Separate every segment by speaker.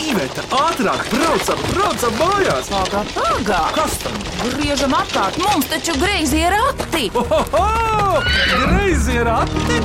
Speaker 1: Iveta, ātrāk, braucam, braucam mājās!
Speaker 2: Pagā, pagā!
Speaker 1: Kas tam?
Speaker 2: Griežam apkārt, mums taču greizi ir rati!
Speaker 1: Ohoho! Greizi ir rati!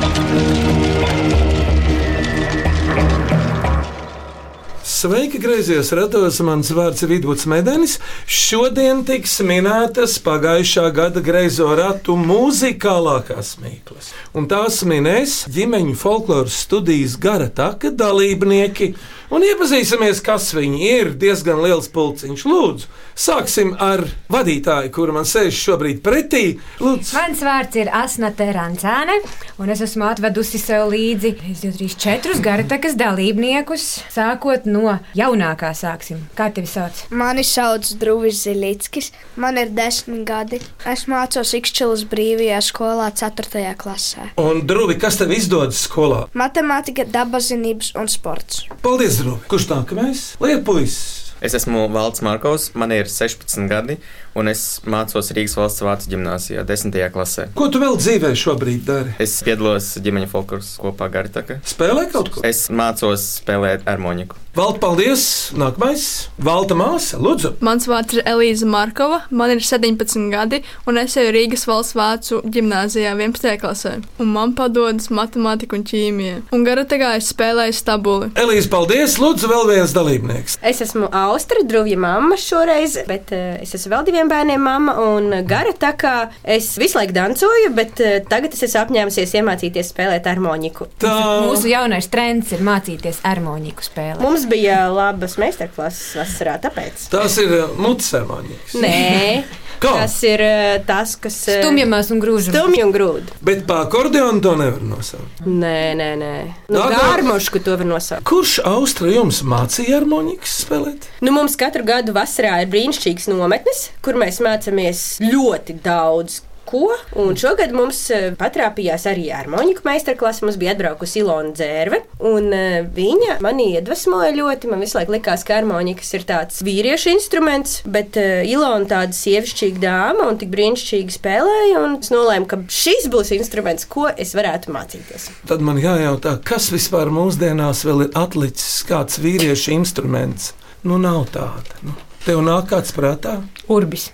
Speaker 3: Sveiki, grazījos ratos. Mans vārds ir Vidvuds Medenis. Šodien tiks minētas pagājušā gada greizo ratu mūzikālākās mīklas. Un tās minēs ģimeņu folkloras studijas gara taka dalībnieki. Un iepazīsimies, kas viņi ir. Diezgan liels pulciņš. Lūdzu, sāksim ar vadītāju, kur man sēž šobrīd pretī. Lūdzu,
Speaker 4: Mans vārds ir Asnate Rančāne, un es esmu atvedusi sev līdzi 24 garatakas dalībniekus, sākot no jaunākā sāksim. Kā tevi sauc?
Speaker 5: Mani sauc Druvis Zilītskis, man ir desmit gadi. Es mācos Ikšķilas brīvajā skolā 4. klasē.
Speaker 3: un Druvi, kas tev izdodas skolā?
Speaker 5: Matemātika, dabazinības un sports.
Speaker 3: Paldies, Druvi! Kurš nākamais? Liepuis!
Speaker 6: Es esmu Valds Markovs, man ir 16 gadi, un es mācos Rīgas valsts vācu gimnāzijā, 10. klasē.
Speaker 3: Ko tu vēl dzīvē šobrīd dari?
Speaker 6: Es piedalos ģimeņa folkloras kopā Garitaka.
Speaker 3: Spēlē kaut ko?
Speaker 6: Es mācos spēlēt harmoniku.
Speaker 3: Valda, paldies! Nākamais, Valda māsa, lūdzu!
Speaker 7: Mans vārds ir Elīza Markova, man ir 17 gadi, un es jau Rīgas valsts vācu gimnāzijā 11. klasē. Un man padodas matemātika un ķīmija. Un garategā es spēlēju stabuli.
Speaker 3: Elīze, paldies! Lūdzu, vēl viens dalībnieks!
Speaker 8: Es esmu Austra, drūmja mamma šoreiz, bet eh, es esmu vēl diviem bērniem mamma un eh, gara tā kā es visu laiku dancoju, bet eh, tagad es esmu apņēmusies iemācīties spēlēt harmoniku.
Speaker 3: Tā
Speaker 4: Mūsu jaunais trends ir mācīties harmoniku spēlēt.
Speaker 8: Mums bija labas meistarklases vasarā, tāpēc.
Speaker 3: tās ir mutsemoņas.
Speaker 8: Nē,
Speaker 3: Kā?
Speaker 8: tas ir eh, tas, kas eh,
Speaker 4: Stumjamās un grūžamās.
Speaker 8: Stumji un grūti.
Speaker 3: Bet pa akordeonu to nevar nosaukt.
Speaker 8: Nē, nē, nē. Nu,
Speaker 3: Tā, tā.
Speaker 8: Gārmošku to var nosaukt.
Speaker 3: Kurš austra jums mācīja harmonikas spēlēt?
Speaker 8: Nu, mums katru gadu vasarā ir brīnišķīgs nometnes, kur mēs mācāmies ļoti daudz. Ko? Un šogad mums eh, patrāpījās arī harmoniku meistarklase. Mums bija atbraukusi Ilona Dzērve, un eh, viņa mani iedvesmoja ļoti. Man visu laiku likās, ka harmonikas ir tāds vīriešu instruments, bet eh, Ilona tāda sievišķīga dāma un tik brīnišķīgi spēlēja. un Es nolēmu, ka šis būs instruments, ko es varētu mācīties.
Speaker 3: Tad man jājautā, kas vispār mūsdienās vēl ir atlicis kāds vīriešu instruments? Nu, nav tāda. Nu. Tev nāk kāds prātā?
Speaker 4: Urbis.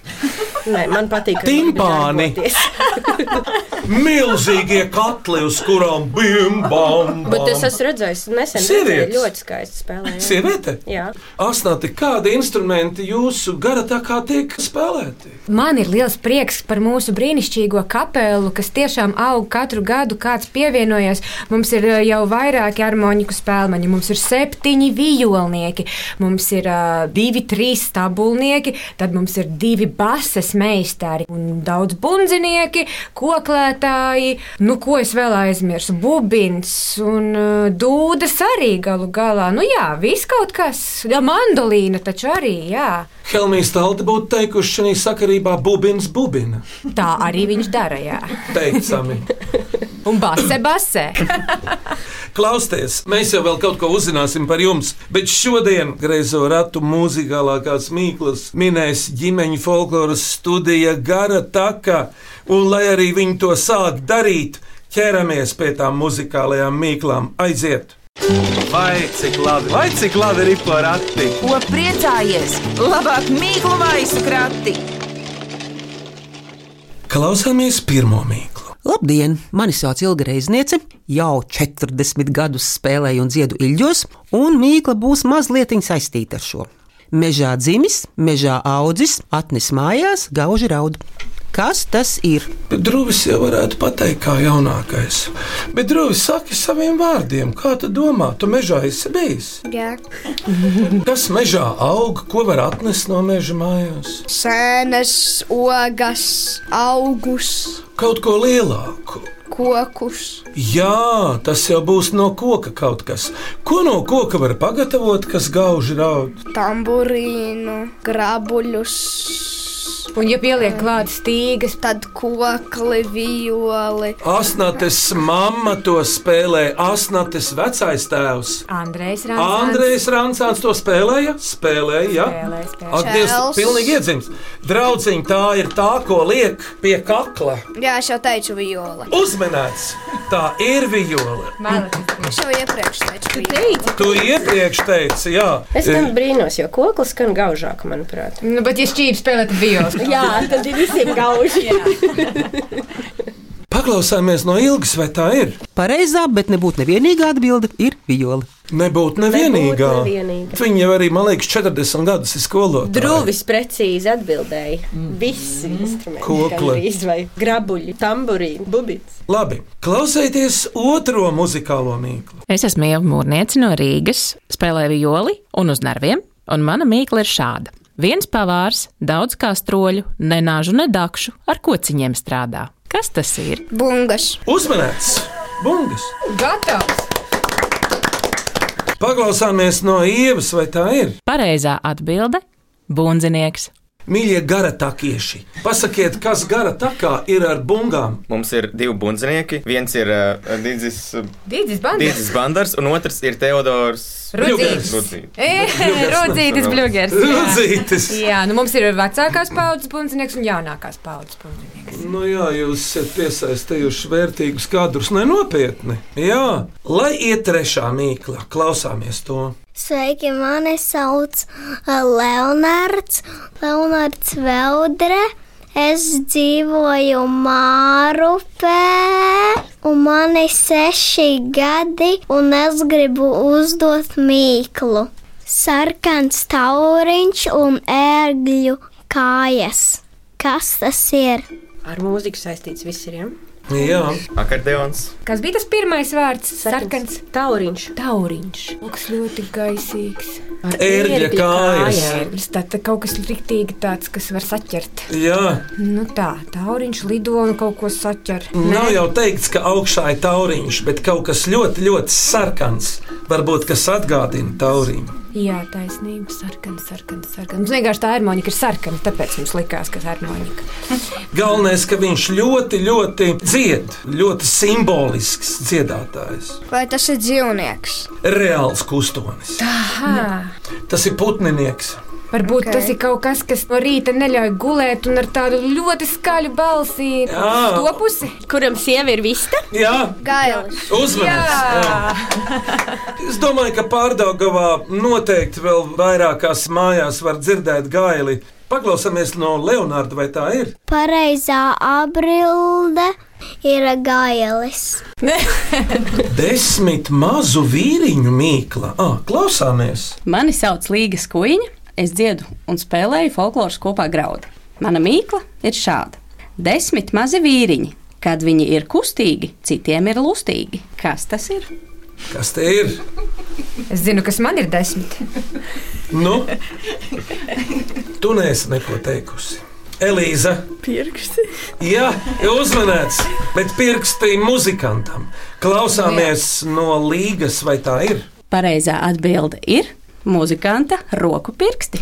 Speaker 8: Nē, man patīk. ka
Speaker 3: Timpāni.
Speaker 8: darboties.
Speaker 3: Milzīgie katli, uz kurām bim bam!
Speaker 8: Bet es esmu redzējis, nesen
Speaker 3: Sievietes.
Speaker 8: redzēju, ļoti skaisti spēlēja.
Speaker 3: Sieviete!
Speaker 8: Jā.
Speaker 3: Asnati, kādi instrumenti jūsu gara tā kā tiek spēlēti?
Speaker 4: Man ir liels prieks par mūsu brīnišķīgo kapelu, kas tiešām aug katru gadu, kāds pievienojas. Mums ir eh, jau vairāki harmoniku spēlmaņi, mums ir septiņi violnieki, mums ir uh, divi, trīs stabulnieki, tad mums ir divi bases meistari un daudz bundzinieki, koklētāji, nu ko es vēl aizmirsu, bubins un uh, dūdas arī galu galā. Nu jā, viss kaut kas, ja mandolīna taču arī, jā.
Speaker 3: Helmijas Talde būtu teikuši šajā sakarībā bubins, bubina.
Speaker 4: Tā arī viņš dara, jā.
Speaker 3: Teicami.
Speaker 4: Un basē, basē.
Speaker 3: Klausieties, mēs jau vēl kaut ko uzzināsim par jums, bet šodien greizo ratu mūzikālākās mīklas minēs ģimeņa folkloras studija Gara Taka, un lai arī viņi to sāk darīt, ķeramies pie tām muzikālajām mīklām. Aiziet!
Speaker 1: Vai cik labi, vai cik labi ir porati!
Speaker 2: Ko priecājies? Labāk mīklu maisu krati!
Speaker 3: Klausāmies pirmo mīklu!
Speaker 9: Labdien, mani sauc Ilga Reizniece. Jau 40 gadus spēlēju un dziedu ilģos, un mīkla būs mazliet saistīta ar šo. Mežā dzimis, mežā audzis, atnes mājās, gauži raud. Kas tas ir?
Speaker 3: Bet Druvis jau varētu pateikt, kā jaunākais. Bet Druvis saka saviem vārdiem, kā tu domā, tu mežā esi bijis?
Speaker 5: Jā,
Speaker 3: Kas mežā aug, ko var atnest no meža mājās?
Speaker 5: sēnes, ogas, augus,
Speaker 3: Kaut ko lielāku.
Speaker 5: kokus.
Speaker 3: Jā, tas jau būs no koka kaut kas. Ko no koka var pagatavot, kas gauži raud?
Speaker 5: tamburīnu, grabuļus,
Speaker 4: Un, ja pieliek klāt stīgas,
Speaker 5: Tad kokli, violi.
Speaker 3: Asnates mamma to spēlēja, Asnates vecais tēvs.
Speaker 4: Andrejs Rāns.
Speaker 3: Andrejs Rančāns to spēlēja. Spēlēja, jā.
Speaker 4: Spēlēja, spēlēja.
Speaker 3: Ak, Dievs,
Speaker 5: Čels.
Speaker 3: pilnīgi iedzimts. Draudziņ, tā ir tā, ko liek pie kakla.
Speaker 5: Jā, es jau teicu, violi.
Speaker 3: Uzmanīts, tā ir viola.
Speaker 5: Es jau iepriekš teicu, violi.
Speaker 8: Teici,
Speaker 3: Tu iepriekš teici, jā.
Speaker 8: es tam brīnos, jo koklis skan gaužāk, manuprāt.
Speaker 4: Nu, bet, ja šķīvi nu, spēlē, tad bijos.
Speaker 8: Jā, tad ir visiem gauži.
Speaker 3: Paklausāmies no ilgas, vai tā ir?
Speaker 9: Pareizā, bet nebūtu nevienīgā atbilde ir viola.
Speaker 3: Nebūtu nevienīgā.
Speaker 8: Nebūtu nevienīga.
Speaker 3: Viņa jau arī, man liekas, 40 gadus ir skolotāja.
Speaker 8: Drūvis precīzi atbildēja. Visi instrumenti,
Speaker 3: Kokle.
Speaker 8: gandrīz, vai grabuļi, tamburīni, bubits.
Speaker 3: Labi, klausieties otro muzikālo mīklu.
Speaker 10: Es esmu Ieva Mūrniece no Rīgas, spēlēju violi un uz nerviem, un mana mīkla ir šāda. Viens pavārs, daudz kā stroļu, nenāžu nedakšu, ar kociņiem strādā. Kas tas ir?
Speaker 5: Bungas.
Speaker 3: Uzmanīts, bungas.
Speaker 4: Gatavs!
Speaker 3: Paklausāmies no ievas, vai tā ir?
Speaker 10: Pareizā atbilde - bunzinieks.
Speaker 3: Mīļie garatakieši, pasakiet, kas garatakā ir ar bungām?
Speaker 6: Mums ir divi bundzinieki. Viens ir uh, Digis
Speaker 4: Dīdzis Bandis!
Speaker 6: Bandars, un otrs ir Teodors
Speaker 4: Rudzītis.
Speaker 6: Rudzītis.
Speaker 4: Rudzītis Bļūgers!
Speaker 3: Rudzītis.
Speaker 4: Jā, nu mums ir vecākās paudzes pundzinieks un jaunākās paudzes pundzinieks.
Speaker 3: Nu jā, jūs esat piesaistījuši vērtīgus kadrus, nenopietni. Jā, lai iet trešā mīkla, klausāmies to.
Speaker 5: Sveiki, mani sauc Leonards, Leonards Veldre. Es dzīvoju Mārupē, un man ir seši gadi, un es gribu uzdot mīklu. Sarkans tauriņš un ērgļu kājas. Kas tas ir?
Speaker 8: Ar mūziku saistīts visiem.
Speaker 3: Jā,
Speaker 6: Akordeons.
Speaker 4: Kas bija tas pirmais vārds? Sarkans.
Speaker 8: tauriņš.
Speaker 4: Tauriņš. Lūks ļoti gaisīgs.
Speaker 3: ērģe
Speaker 8: ērgļa
Speaker 3: kājas.
Speaker 8: kājām.
Speaker 4: Ērglis, Tad tad kaut kas riktīgi tāds, kas var saķert.
Speaker 3: Jā,
Speaker 4: Nu tā, tauriņš lido un kaut ko saķer.
Speaker 3: nav jau teikts, ka augšā ir tauriņš, bet kaut kas ļoti, ļoti sarkans. Varbūt kas atgādina tauriņu.
Speaker 4: Jā, taisnība, sarkana, sarkana, sarkana. Mums vienkārši tā harmonika ir sarkana, tāpēc mums likās, ka harmonika.
Speaker 3: Galvenais, ka viņš ļoti, ļoti dzied, ļoti simbolisks dziedātājs.
Speaker 5: Vai tas ir dzīvnieks?
Speaker 3: Reāls kustonis.
Speaker 4: Aha.
Speaker 3: Tas ir putninieks.
Speaker 4: Varbūt
Speaker 5: Ok.
Speaker 4: okay. tas ir kaut kas, kas no rīta neļauj gulēt un ar tādu ļoti skaļu balsi
Speaker 3: Jā.
Speaker 4: topusi.
Speaker 8: Kuram sieviete ir vista?
Speaker 3: Jā,
Speaker 5: Gailis.
Speaker 3: uzmanīgs. Es domāju, ka Pārdāgavā noteikti vēl vairākās mājās var dzirdēt gaili. Paklausāmies no Leonarda, vai tā ir?
Speaker 5: Pareizā aprilde ir gailis.
Speaker 3: Desmit mazu vīriņu mīkla. Ah, klausāmies!
Speaker 10: Mani sauc Līgas Kuiņa, es dziedu un spēlēju folkloras kopā graudu. Mana mīkla ir šāda: desmit mazi vīriņi. Kad viņi ir kustīgi, citiem ir lustīgi. Kas tas ir?
Speaker 3: Kas te ir?
Speaker 4: Es zinu, kas man ir desmit.
Speaker 3: Nu, tu neesi neko teikusi. Elīza,
Speaker 7: Pirksti.
Speaker 3: jā, uzmanīts, bet pirksti muzikantam. Klausāmies no līgas, vai tā ir?
Speaker 10: Pareizā atbilde ir muzikanta roku pirksti.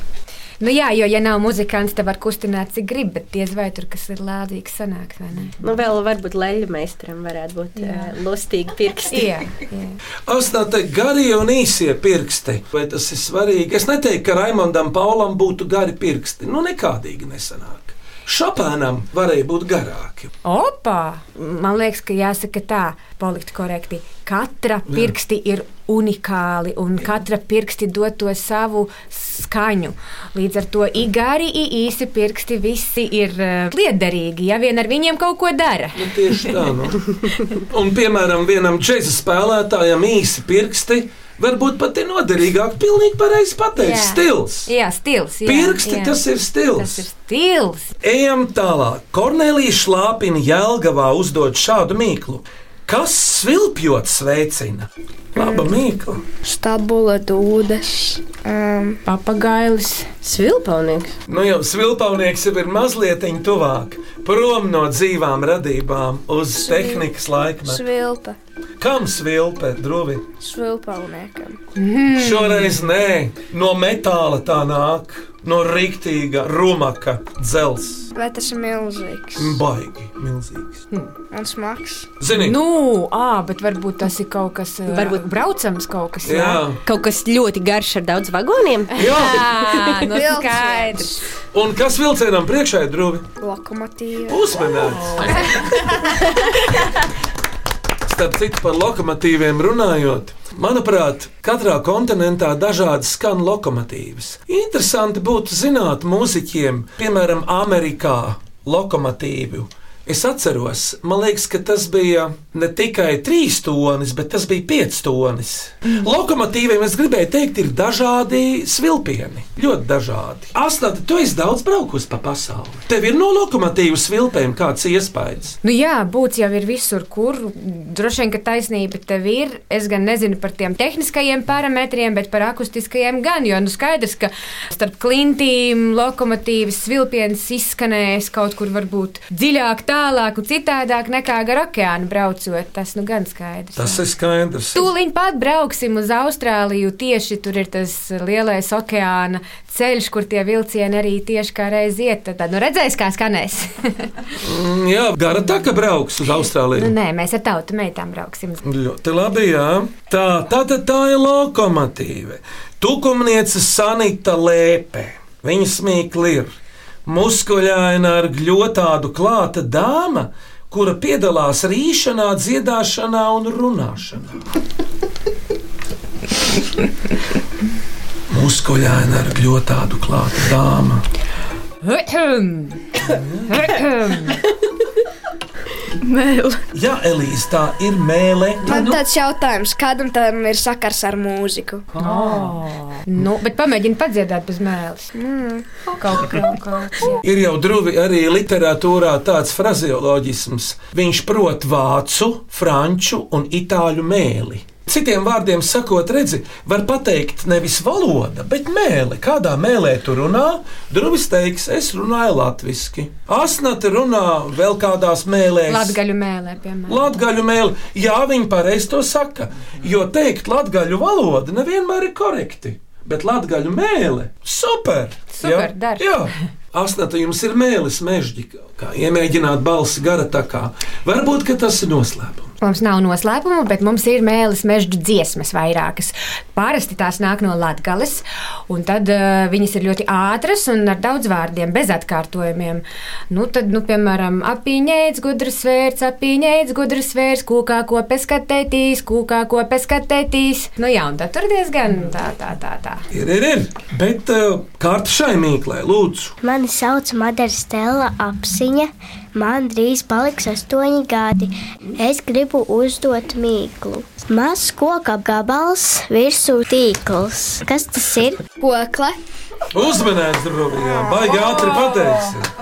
Speaker 4: Nu jā, jo, ja nav muzikants, tad var kustināt, cik grib, bet diez vai tur kas ir lādīgs sanāks, vai ne?
Speaker 8: Nu, vēl varbūt leļu meistaram varētu būt uh, lustīgi pirksti.
Speaker 4: Jā, jā.
Speaker 3: Astāte garie un īsie pirksti. Vai tas ir svarīgi? Es neteiktu, ka Raimondam Paulam būtu gari pirksti. Nu, nekādīgi nesanāk. Šapēnam varēja būt garāki.
Speaker 4: Opa! Man liekas, ka jāsaka tā, palikt korekti. Katra pirksti ir unikāli, un katra pirksti dod to savu skaņu. Līdz ar to i gari, i īsi pirksti visi ir eh, liederīgi, ja vien ar viņiem kaut ko dara.
Speaker 3: Nu, tieši tā, nu. Un, piemēram, vienam džēza spēlētājam īsi pirksti varbūt pat ir noderīgāk. Pilnīgi pareizi pateikt,
Speaker 4: Jā.
Speaker 3: stils.
Speaker 4: Jā, stils. Jā,
Speaker 3: Pirksti,
Speaker 4: jā.
Speaker 3: tas ir
Speaker 4: Tas
Speaker 3: stils.
Speaker 4: ir stils.
Speaker 3: Ejam tālāk. Kornelija Šlāpina Jēlgavā uzdod šādu mīklu. Kas svilpjot sveicina? Laba
Speaker 4: Mm.
Speaker 3: mīkla.
Speaker 5: Stabula dūdes. Um,
Speaker 4: Papagailis.
Speaker 8: Svilpaunieks.
Speaker 3: Nu jau svilpaunieks jau ir mazliet tuvāk, prom no dzīvām radībām uz tehnikas laikmetu.
Speaker 5: svilpa.
Speaker 3: Kam svilpe, drobi?
Speaker 5: Svilpauniekam.
Speaker 3: Šoreiz nē, no metāla tā nāk. no rīktīga rumaka dzels.
Speaker 11: Vai tas ir milzīgs
Speaker 3: Baigi, milzīgs.
Speaker 11: un smags?
Speaker 3: Zini, nu.
Speaker 4: Nu, ā, bet varbūt tas ir kaut kas eh,
Speaker 8: Varbūt-
Speaker 4: braucams, kaut kas
Speaker 3: Jā.
Speaker 8: Kaut kas ļoti garš ar daudz vagoniem.
Speaker 4: Jā, nu
Speaker 11: Vilciens.
Speaker 4: skaidrs.
Speaker 3: un kas vilcienam priekšā ir drūmi?
Speaker 11: Lokomotīva.
Speaker 3: Uzmanīgs! Starp citu, par lokomotīviem runājot, manuprāt, katrā kontinentā dažādi skan lokomotīvas. Interesanti būtu zināt, mūziķiem, piemēram, Amerikā, lokomotīvu. Es atceros, man liekas, ka tas bija ne tikai trīs tonis, bet tas bija pieci tonis. Lokomotīviem es gribēju teikt, ir dažādi svilpieni. Ļoti dažādi. Astrid, tu esi daudz braukusi pa pasauli. Tev ir no lokomotīvu svilpēm kāds iespējas.
Speaker 4: Nu jā, būts jau ir visur, kur droši vien, ka taisnība tev ir. Es gan nezinu par tiem tehniskajiem parametriem, bet par akustiskajiem gan. Jo nu skaidrs, ka starp klintīm lokomotīvas svilpienas izskanēs kaut kur varbūt dziļāk, tālāk un citādāk nekā gar okeānu braucot. Tas nu gan skaidrs.
Speaker 3: Tas ir skaidrs.
Speaker 4: Tūlīt pat brauksim uz Austrāliju. Tieši tur ir tas lielais okeāna ceļš, kur tie vilcieni arī tieši kā reiz iet. Tad, tad nu redzēs, kā skanēs.
Speaker 3: Mm, Jā, gara tā, ka brauks uz
Speaker 4: nu,
Speaker 3: Austrāliju.
Speaker 4: nē, mēs ar tautu meitām brauksim.
Speaker 3: Ļoti labi, jā. Tā, tā, tā, tā ir lokomotīva. Tukumniece Sanita Lēpe. Viņa smīkli ir. Muskuļaina ar gļotādu klāta dāma, kura piedalās rīšanā, dziedāšanā un runāšanā. Muskuļaina ar gļotādu klāta dāma.
Speaker 7: Mēl.
Speaker 3: Jā, Elīze, tā ir mēlē.
Speaker 11: Man tāds jautājums, kādam tam ir sakars ar mūziku?
Speaker 4: nu, bet pamēģini padziedāt bez mēles. Mm. Kaut kā tāda.
Speaker 3: Ir jau drūmi arī literatūrā tāds frazeoloģisms. Viņš prot vācu, franču un itāļu mēli. Citiem vārdiem sakot, redzi, var pateikt nevis valoda, bet mēlē. Kādā mēlē tu runā? Drūmis teiks, es runāju latviešu. Asnati runā vēl kādās mēlēs.
Speaker 4: Latgaļu mēlē, piemēram.
Speaker 3: Latviešu mēlē, jā, viņi pareizi to saka. Jo teikt latviešu valodu nevienmēr ir korekti. Bet latviešu mēlē, super!
Speaker 4: Super,
Speaker 3: jā,
Speaker 4: dara.
Speaker 3: jā. Asnēta jums ir mēlis, mežģi, kā iemēģināt balsi gara takā. Varbūt, ka tas ir noslēpums.
Speaker 4: Mums nav noslēpuma, bet mums ir mēlis mežģu dziesmas vairākas. Parasti tās nāk no latgales, un tad uh, viņas ir ļoti ātras un ar daudz vārdiem, bez atkārtojumiem. Nu, tad, nu, piemēram, apīņēdz gudrs vērts, apīņēdz gudrs vērts, kūkā ko peskatētīs, kūkā ko peskatētīs. Nu jā, un tad tur diezgan tā, tā, tā, tā.
Speaker 3: Ir, ir, ir. Bet uh, kārta šai mīklē, lūdzu.
Speaker 5: Mani sauc Madara Stela apziņa. Man drīz paliks astoņi gadi. Es gribu uzdot mīklu. Mazs koka gabals virsū tīkls. Kas tas ir?
Speaker 11: Kokle.
Speaker 3: Uzmanīgs, draugi, jā, baigi ātri pateiks.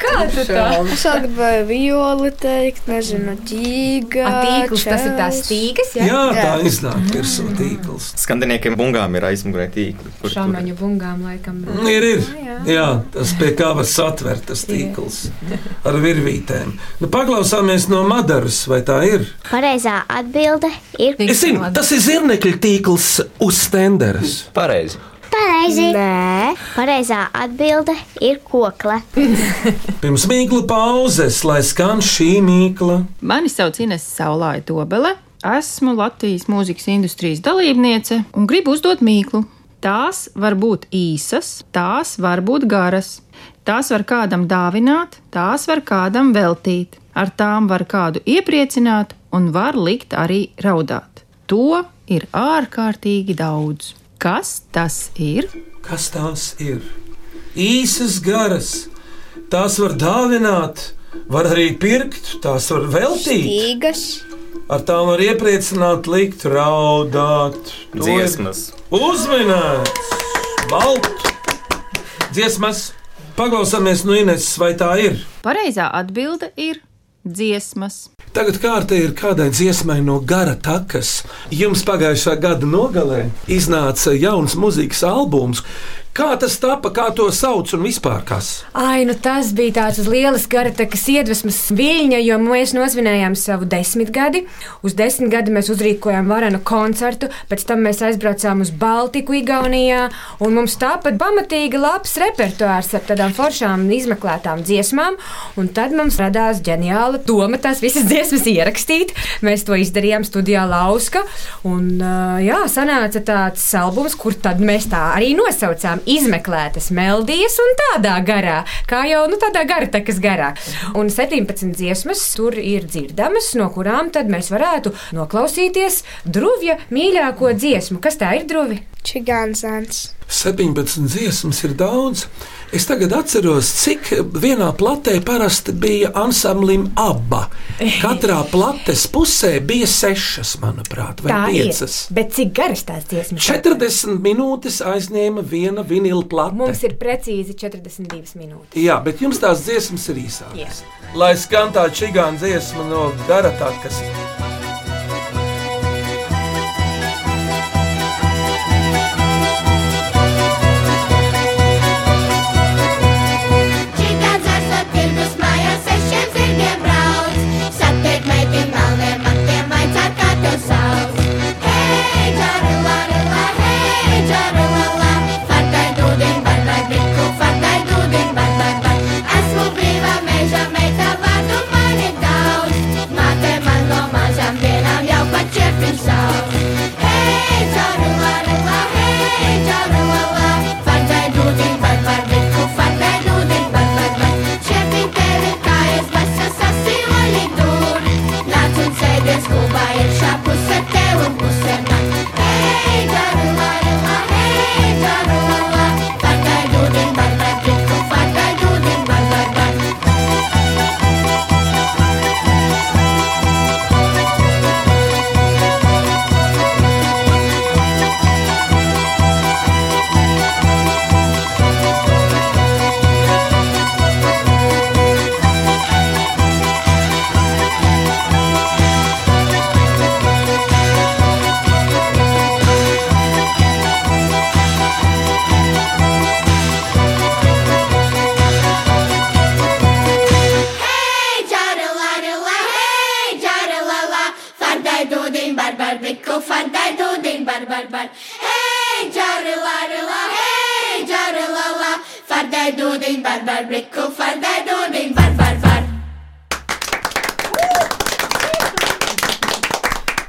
Speaker 11: Es vēl gribēju violi teikt, nezinu, ģīga.
Speaker 4: A, tīkls, tas ir tās stīgas, jā?
Speaker 3: Jā, tā iznāk virsū tīkls.
Speaker 6: Skandiniekiem bungām ir aizmugurē tīkli. kur- kur-
Speaker 4: Šāmaņu bungām laikam.
Speaker 3: Ir, ir.
Speaker 4: Jā, jā.
Speaker 3: Jā, tas pie kā var satvert tas tīkls ar virvītēm. Nu, paklausāmies no Madaras, vai tā ir?
Speaker 5: Pareizā atbilde ir
Speaker 3: Es zinu, tas ir zirnekļa tīkls uz stenderas.
Speaker 12: Pareizi.
Speaker 5: pareizi. Nē, pareizā atbilde ir kokle.
Speaker 3: Pirms mīklu pauzes, lai skan šī mīkla.
Speaker 13: Mani sauc Ines Saulāja Dobele. Esmu Latvijas mūzikas industrijas dalībniece un gribu uzdot mīklu. Tās var būt īsas, tās var būt garas. Tās var kādam dāvināt, tās var kādam veltīt. Ar tām var kādu iepriecināt un var likt arī raudāt. To ir ārkārtīgi daudz. Kas tas ir?
Speaker 3: Kas tās ir? Īsas garas, tās var dāvināt, var arī pirkt, tās var veltīt.
Speaker 11: Tīgas.
Speaker 3: Ar tām var iepriecināt, likt, raudāt. To ir
Speaker 6: Dziesmas.
Speaker 3: Uzmanīts! Baltu! Dziesmas! Paklausāmies no Ines, vai tā ir?
Speaker 13: Pareizā atbilde ir dziesmas.
Speaker 3: Tagad kārta ir kādai dziesmai no gara takas. Jums pagājušā gada nogalē iznāca jauns mūzikas albums, Kā tas tapa, kā to sauc un vispār kas?
Speaker 4: Ai, nu tas bija tāds liels garatekas iedvesmas viļņa, jo mēs nosvinējām savu desmitgadi. Uz desmitgadi mēs uzrīkojām varenu koncertu, pēc tam mēs aizbraucām uz Baltiku, Igaunijā, un mums tāpat pamatīgi labs repertuārs ar tādām foršām izmeklētām dziesmām, un tad mums radās ģeniāla doma tās visas dziesmas ierakstīt. Mēs to izdarījām studijā Lauska, un ā, jā, sanāca tāds albums, kur tad mēs tā arī nosaucām izmeklētas melodijas un tādā garā, kā jau nu, tādā gara takas garā. Un 17 dziesmas tur ir dzirdamas, no kurām tad mēs varētu noklausīties druvja mīļāko dziesmu. Kas tā ir druvi?
Speaker 11: Čigānzāns.
Speaker 3: 17 dziesmas ir daudz. Es tagad atceros, cik vienā platē parasti bija ansamblim abi. Katrā plates pusē bija sešas, manuprāt, vai
Speaker 4: tā
Speaker 3: piecas.
Speaker 4: ir. Bet cik garas tās dziesmas?
Speaker 3: 40 minūtes aizņēma viena vinila plate.
Speaker 4: Mums ir precīzi 42 minūtes.
Speaker 3: Jā, bet jums tās dziesmas ir īsākas.
Speaker 4: Jā.
Speaker 3: Lai skan tā čigāna dziesma no Garatakas.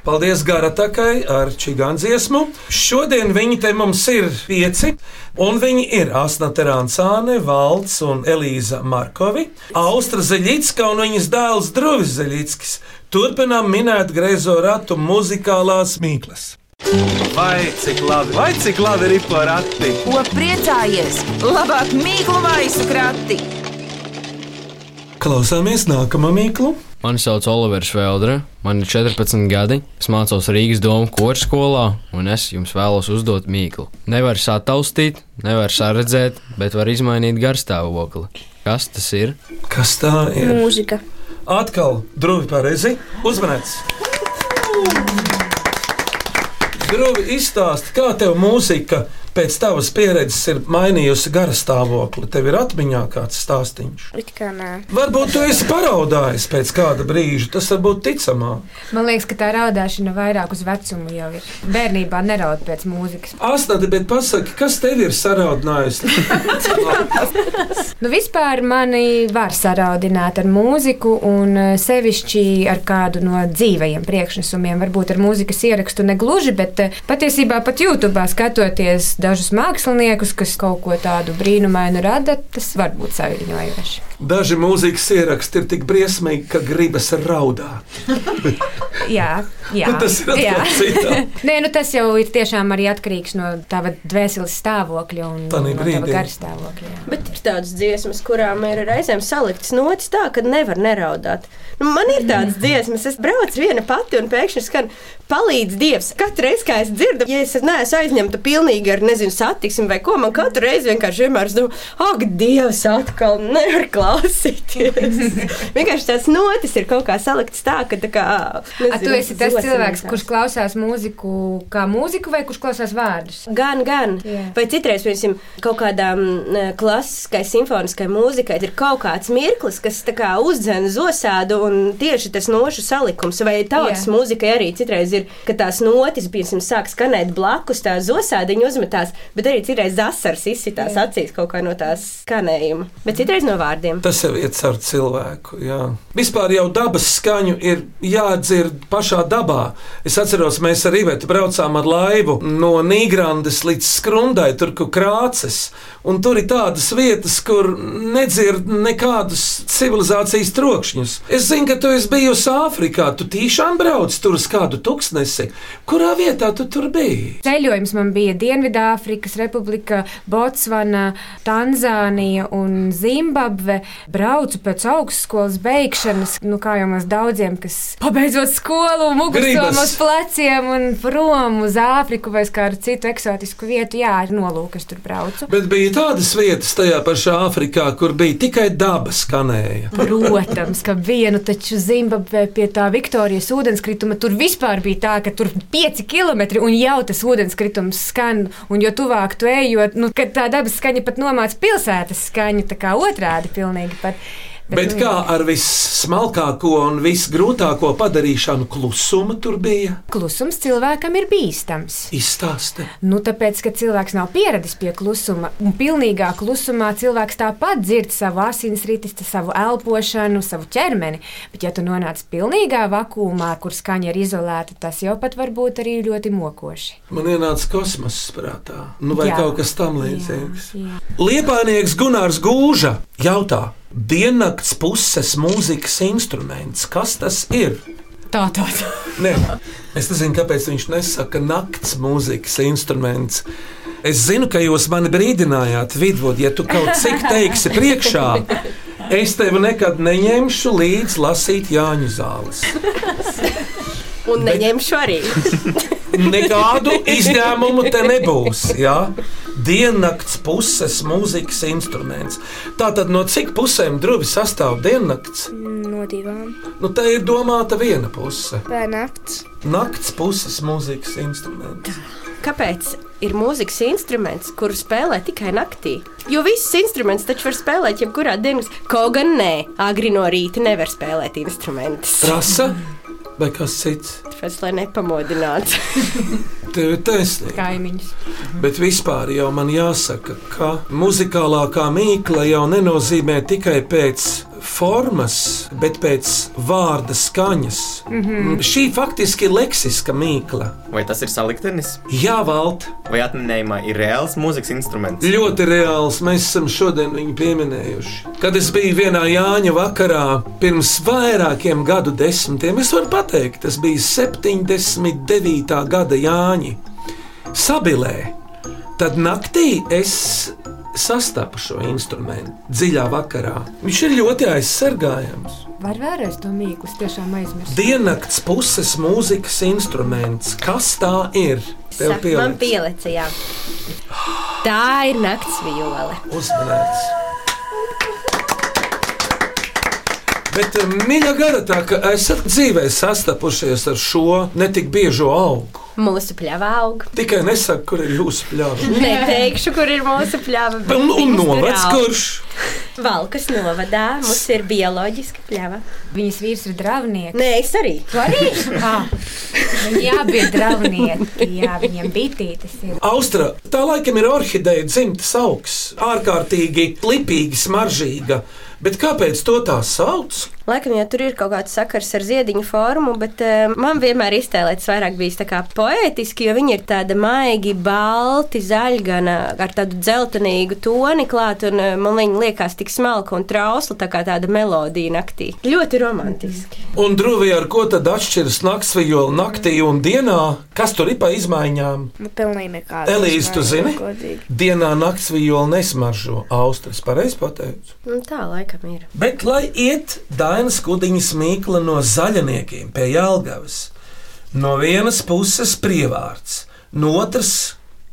Speaker 3: Paldies Garatakai ar čigānu dziesmu. Šodien viņi te mums ir pieci, un viņi ir Asna Terānsāne, Valds un Elīza Markovi, Austra Zeļicka un viņas dēls Druvis Zeļickis. Turpinām minēt greizo ratu muzikālās mīklas.
Speaker 1: Vai cik labi, vai cik labi ir porakti?
Speaker 2: Ko priecājies? Labāk mīklu maisu krati!
Speaker 3: Klausāmies nākamā mīklu.
Speaker 12: Mani sauc Olivers Veldre, man ir 14 gadi, es mācos Rīgas domu korskolā, un es jums vēlos uzdot mīklu. Nevar sataustīt, nevar saredzēt, bet var izmainīt garstāvokli. Kas tas ir?
Speaker 3: Kas tā
Speaker 4: Mm.
Speaker 11: Mūzika.
Speaker 3: Atkal drūmi pareizi. Uzmanīts! Grūti izstāstīt, kā tev mūzika pēc tavas pieredzes ir mainījusi garu stāvokli. Tev ir atmiņā kāds stāstījums.
Speaker 11: It kā nē.
Speaker 3: Varbūt tu esi paraudājis pēc kāda brīža, tas var būt ticamāk.
Speaker 4: Man liekas, ka tā raudāšana vairāk uz vecumu jau ir. Bērnībā neraud pēc mūzikas.
Speaker 3: Asnēta, bet pasaki, kas tev ir saraudinājis?
Speaker 4: Nu, vispār mani var saraudināt ar mūziku, un eh, sevišķi ar kādu no dzīvajiem priekšnesumiem. Varbūt ar mūzikas ierakstu ne gluži, bet eh, patiesībā pat YouTube skatoties dažus māksliniekus, kas kaut ko tādu brīnumainu rada, tas var būt saviņojoši.
Speaker 3: Daži mūzikas ieraksti ir tik briesmīgi, ka gribas raudāt.
Speaker 4: Jā, jā.
Speaker 3: Nu, tas ir atkal
Speaker 4: jā.
Speaker 3: citādi.
Speaker 4: Nē, nu, tas jau ir tiešām arī atkarīgs no tava dvēseles stāvokļa un
Speaker 3: Tanī
Speaker 4: no
Speaker 3: brīdī.
Speaker 4: tava garas stāvokļa. jā.
Speaker 8: Bet ir tādas dziesmas, kurām ir reizēm saliktas notis tā, ka nevar neraudāt. Nu, man ir
Speaker 4: Mhm.
Speaker 8: tādas dziesmas, es braucu viena pati un pēkšņi skan palīdz Dievs. Katru reizi, kad es dzirdu, ja es neesmu aizņemta pilnīgi ar ne nezinu, satiksmi vai ko. Man katru reizi vienkārši vienmēr ir, ak, Dievs, atkal nevar klausīties. vienkārši tās notis ir kaut kā salikts tā, ka tā kā.
Speaker 4: A, tu esi tas cilvēks, kurš klausās mūziku kā mūziku, vai kurš klausās vārdus?
Speaker 8: Gan, gan.
Speaker 4: Jā.
Speaker 8: Vai citreiz, piemēram, kaut kādā mm, klasiskai, simfoniskai mūzikai ir kaut kāds mirklis, kas tā kā uzdzen zosādu un tieši tas nošu salikums. Vai tautas
Speaker 4: Jā.
Speaker 8: mūzikai arī citreiz ir, ka tās notis, piemēram, sāk skanēt blakus, tā zosādiņa uzmetās, bet arī citreiz asars izsitās acīs kaut kā no tās skanējuma. Bet citreiz no vārdiem.
Speaker 3: Tas jau ir ar cilvēku. Jā. Vispār jau dabas skaņu ir jādzird pašā dabā. Es atceros, mēs ar Rībētu braucām ar laivu no Nīgrandes līdz Skrundai, tur kur krāces. Un tur ir tādas vietas, kur nedzird nekādus civilizācijas trokšņus. Es zinu, ka tu esi bijusi Āfrikā, tu tiešām brauc tur uz kādu tūkstnesi. Kurā vietā tu tur biji?
Speaker 4: Ceļojums man bija Dienvidāfrikas Republika, Botsvana, Tanzānija un Zimbabve. Braucu pēc augstskolas beigšanas, nu kā jau mums daudziem, kas pabeidzot skolu, mugursomu
Speaker 14: Gribas.
Speaker 4: uz pleciem un prom uz Āfriku vai uz kādu citu eksotisku vietu. Jā, ar nolūku es tur braucu.
Speaker 3: Bet bija tādas vietas tajā pašā Āfrikā, kur bija tikai daba skanēja.
Speaker 4: Protams, ka vienu taču Zimbabvē pie tā Viktorijas ūdenskrituma tur vispār bija tā, ka tur bija pieci kilometri un jau tas ūdenskritums skan. Un jo tuvāk tu ej, jo nu, kad tā dabas skaņa pat nomāca pilsētas skaņu, tā kā otrādi pilnīgi. Pat.
Speaker 3: Bet
Speaker 4: nu,
Speaker 3: kā ar vissmalkāko un visgrūtāko padarīšanu klusuma tur bija?
Speaker 4: Klusums cilvēkam ir bīstams.
Speaker 3: Izstāsti.
Speaker 4: Nu, tāpēc, ka cilvēks nav pieradis pie klusuma, un pilnīgā klusumā cilvēks tāpat dzird savu asinsritis, tā savu elpošanu, savu ķermeni. Bet, ja tu nonāc pilnīgā vakumā, kur skaņa ir izolēta, tas jau pat var būt arī ļoti mokoši.
Speaker 3: Man ienāca kosmoss prātā, nu vai
Speaker 4: Jā.
Speaker 3: Jā. kaut kas tam līdzīgs. Liepainieks Gunārs Gūža jautā, diennakts puses mūzikas instruments, kas tas ir?
Speaker 4: Tā, tā, tā.
Speaker 3: Nē, es nezinu, kāpēc viņš nesaka nakts mūzikas instruments. Es zinu, ka jūs mani brīdinājāt, Vidvud, ja tu kaut cik teiksi priekšā, es tevi nekad neņemšu līdzi lasīt Jāņu zāles.
Speaker 8: Un neņemšu arī.
Speaker 3: Nekādu izņēmumu te nebūs. Ja? Diennakts puses mūzikas instruments. Tātad no cik pusēm druvi sastāv diennakts?
Speaker 11: No divām.
Speaker 3: Nu, tā ir domāta viena puse.
Speaker 11: Vai nakts?
Speaker 3: Nakts puses mūzikas instruments.
Speaker 8: Kāpēc ir mūzikas instruments, kuru spēlē tikai naktī? Jo visus instrumentus taču var spēlēt jebkurā dienas. Kaut gan nē, agri no rīta nevar spēlēt instrumentus.
Speaker 3: Rasa vai kas cits?
Speaker 8: Tāpēc, lai nepamodinātu.
Speaker 3: Tev ir taisnība.
Speaker 4: Kaimiņus.
Speaker 3: Bet vispār jau man jāsaka, ka muzikālākā mīkla jau nenozīmē tikai pēc formas, bet pēc vārda skaņas.
Speaker 6: Mhm.
Speaker 3: Šī faktiski ir leksiska mīkla.
Speaker 6: Vai tas ir saliktenis?
Speaker 3: Jā, valt.
Speaker 6: Vai atminējumā ir reāls mūzikas instruments?
Speaker 3: Ļoti reāls. Mēs esam šodien viņu pieminējuši. Kad es biju vienā Jāņa vakarā pirms vairākiem gadu desmitiem, es varu pateikt, tas bija 79. gada Jāņa Sabilē. Tad naktī es sastapu šo instrumentu dziļā vakarā. Viņš ir ļoti aizsargājams.
Speaker 4: Var vēlreiz to mīklu, es tiešām aizmirsu.
Speaker 3: Diennakts puses mūzikas instruments. Kas tā ir? Tev
Speaker 8: Sa-
Speaker 3: pielikt?
Speaker 8: Man pielica, jā. Tā ir nakts viole.
Speaker 3: Uzmanīgs. Bet, eh, mīļā gara, tā kā esat dzīvē sastapušies ar šo netik biežo augu.
Speaker 8: Mūsu pļava aug.
Speaker 3: Tikai nesaka, kur ir jūsu pļāva.
Speaker 8: Neteikšu, kur ir mūsu pļava. bet
Speaker 3: Un, un
Speaker 8: viņas tur
Speaker 3: novads
Speaker 8: aug.
Speaker 3: kurš?
Speaker 8: Valkas novadā mums ir bioloģiska pļava.
Speaker 4: Viņas vīrs ir dravnieks.
Speaker 8: Nē, es arī.
Speaker 4: Tu arī? Ah, Viņi abi ir dravnieki. Jā, viņiem bitītes ir.
Speaker 3: Austra, tā laikam ir orhideja dzimtas augs, ārkārtīgi lipīga, smaržīga. Bet kāpēc to tā sauc?
Speaker 8: Laikam, ja tur ir kaut kāds sakars ar ziediņu formu, bet uh, man vienmēr iztēlēts vairāk bijis tā kā poētiski, jo viņi ir tāda maigi, balti, zaļgana, ar tādu dzeltenīgu toni klāt, un uh, man viņi liekas tik smalka un trausla, tā kā tāda melodija naktī. Ļoti romantiski.
Speaker 3: Un drūvi ar ko tad atšķiras naktsvijola naktī un dienā? Kas tur ir pa izmaiņām?
Speaker 11: Nu, pilnīgi nekāda.
Speaker 3: Elīze, tu
Speaker 11: Nezinu,
Speaker 3: zini?
Speaker 11: Godīgi.
Speaker 3: Dienā naktsvijola nesmaržo austras, pareizi pateicu.
Speaker 8: Nu, tā laikam ir.
Speaker 3: Bet, lai iet Dainas kudiņas mīkla no zaļniekiem pie Jālgavas, no vienas puses prievārds, no otras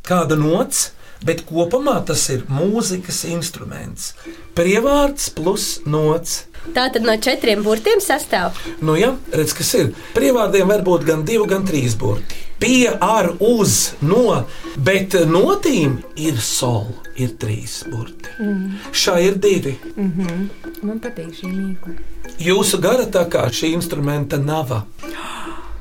Speaker 3: kāda nots, bet kopumā tas ir mūzikas instruments. Prievārds plus nots.
Speaker 8: Tā tad no četriem burtiem sastāv.
Speaker 3: Nu, jā, redz, kas ir. Prievārdiem var būt gan divi, gan trīs burti. Pie, ar, uz, no, bet notīm ir sol, ir trīs burti.
Speaker 4: Mm.
Speaker 3: Šā ir divi.
Speaker 4: Mm -hmm. Man patīk šī mīkla.
Speaker 3: Jūsu gara tā kā šī instrumenta nava.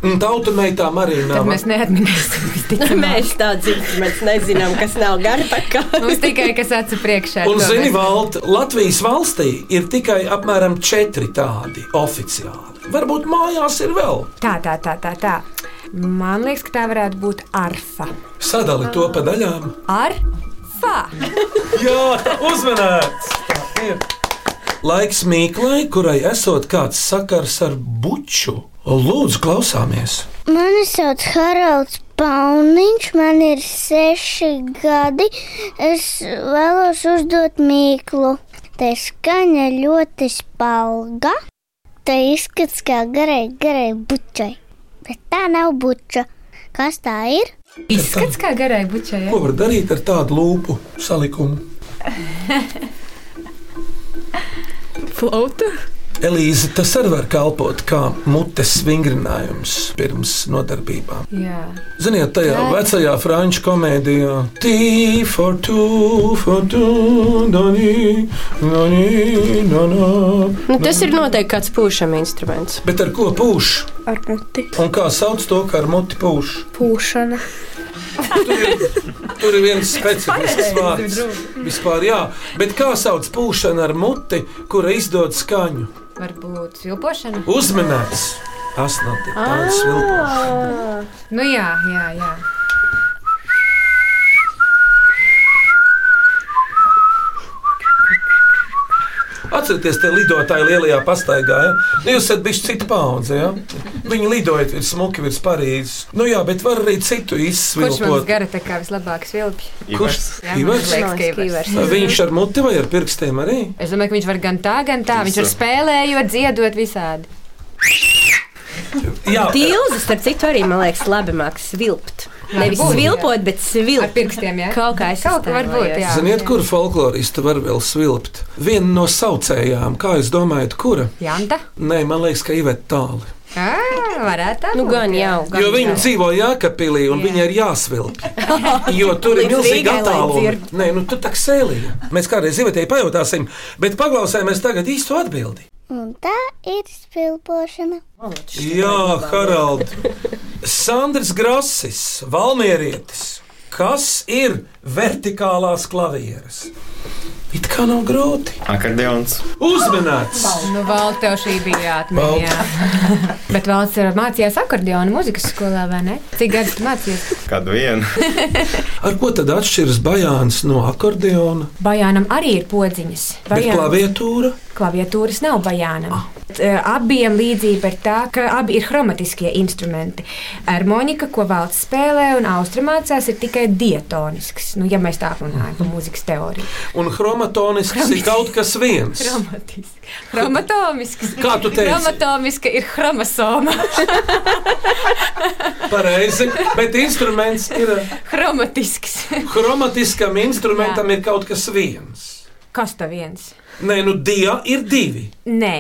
Speaker 3: Un tautumētām arī nav.
Speaker 4: Tad mēs neatminēsim. visticamāk.
Speaker 8: Mēs tādu instrumentus nezinām, kas nav garpakā.
Speaker 4: Mums tikai kas acu priekšā.
Speaker 3: Un,
Speaker 4: to
Speaker 3: zini,
Speaker 4: mēs-
Speaker 3: Valta, Latvijas valstī ir tikai apmēram četri tādi oficiāli. Varbūt mājās ir vēl.
Speaker 4: Tā, tā, tā, tā, tā. Man liekas, ka tā varētu būt arfa.
Speaker 3: Sadali to pa daļām.
Speaker 4: Ar fa!
Speaker 3: Jā, tā uzmanīts! Tā ir. Laiks mīklai, kurai esot kāds sakars ar buču. Lūdzu, klausāmies!
Speaker 5: Mani sauc Haralds Pauniņš, man ir seši gadi. Es vēlos uzdot mīklu. Tā skaņa ļoti spalga. Tā izskats kā garai, garai bučai. Bet tā nav buča. Kas tā ir?
Speaker 4: Izskats kā garai bučai.
Speaker 3: Ko var darīt ar tādu lupu salikumu?
Speaker 7: Flauta.
Speaker 3: Elīze, tas arī var kalpot kā mutes vingrinājums pirms nodarbībām.
Speaker 4: Jā.
Speaker 3: Ziniet, tajā
Speaker 4: Jā.
Speaker 3: vecajā franču komēdijā Tī, for two, for two, nani, nani, nana.
Speaker 8: Nu, Tas ir noteikti kāds pūšam instruments.
Speaker 3: Bet ar ko pūš?
Speaker 11: Ar muti.
Speaker 3: Un kā sauc to, ka ar muti pūš?
Speaker 11: Pūšana.
Speaker 3: Tur ir viens specifisks
Speaker 11: Pareizi,
Speaker 3: vārds. Vispār, jā. Bet kā sauc pūšana ar muti, kura izdod skaņu?
Speaker 4: Varbūt vilpošana.
Speaker 3: Uzmanīts! Asnati,
Speaker 11: Ah.
Speaker 3: tāds vilpošana.
Speaker 4: Nu jā, jā, jā.
Speaker 3: Atcerieties, tie lidotāji lielajā pastaigā. Ja? Nu, Jūs esat bijusi cita paudze. Ja? Viņi lidoja virs smuki, virs Parīzes. Nu, jā, bet var arī citu
Speaker 4: Kurš mums
Speaker 3: izsvilpot.
Speaker 4: gara tā kā vislabāk svilpj? Jā, man
Speaker 3: Ivars?
Speaker 4: liekas, ka Ivars.
Speaker 3: Viņš ar muti vai ar pirkstiem arī?
Speaker 4: Es domāju, ka viņš var gan tā, gan tā. Viņš var spēlējot, dziedot visādi.
Speaker 3: Jā.
Speaker 8: Tīlza, starp citu, arī man liekas, labi māks svilpt.
Speaker 4: Jā,
Speaker 8: Nevis
Speaker 4: būtu,
Speaker 8: svilpot, bet svilpt. Ar
Speaker 4: pirkstiem, jā.
Speaker 8: Kaut kā es
Speaker 4: Kaut kā varbūt, jā.
Speaker 3: Ziniet, kur folkloristi var vēl svilpt? Viena no saucējām, kā jūs domājat, kura?
Speaker 4: Janta?
Speaker 3: Nē, man liekas, ka Iveta tāli.
Speaker 4: Ā, varētu tā.
Speaker 8: Nu, gan jau.
Speaker 3: Jo viņi dzīvo Jākapilī un viņai ir jāsvilp. Jo tur ir
Speaker 8: Līdz
Speaker 3: milzīga
Speaker 8: Rīgai, lai
Speaker 3: attāluma.
Speaker 8: dzird.
Speaker 3: Nē, nu tur tā kā sēlīja. Mēs kādreiz Ivetei pajautāsim, bet paklausāmies tagad īsto atbildi.
Speaker 5: Un tā ir spilpošana.
Speaker 3: Jā, Harald. Sandrs Grasis, Valmierietis. Kas ir vertikālās klavieres? It kā nav grūti.
Speaker 6: Akordeons.
Speaker 3: Uzmanīts!
Speaker 4: Nu, Valda, tev šī bija
Speaker 3: Valda.
Speaker 4: jāatmiņā. Bet Valds ir mācījās akordeonu muzikas skolā, vai ne? Cik gadus tu mācījies?
Speaker 6: Kādu vienu?
Speaker 3: Ar ko tad atšķiras bajāns no akordeona?
Speaker 4: Bajānam arī ir podziņas.
Speaker 3: Bet Ah. klaviatūra?
Speaker 4: Klaviatūras nav bajānam. T- Abiem līdzība ir tā, ka abi ir chromatiskie instrumenti. Harmonika, ko valsts spēlē un austramācās, ir tikai diatonisks. Nu, ja mēs tā runājam par mūzikas teoriju.
Speaker 3: Un chromatonisks ir kaut kas viens.
Speaker 4: Chromatisks. Chromatomisks.
Speaker 3: Kā tu teici?
Speaker 4: Chromatomiska ir chromosoma.
Speaker 3: Pareizi, bet instruments ir
Speaker 4: Chromatisks.
Speaker 3: chromatiskam instrumentam ir kaut kas viens.
Speaker 4: Kas tas viens?
Speaker 3: Nē, nu dia ir divi.
Speaker 4: Nē,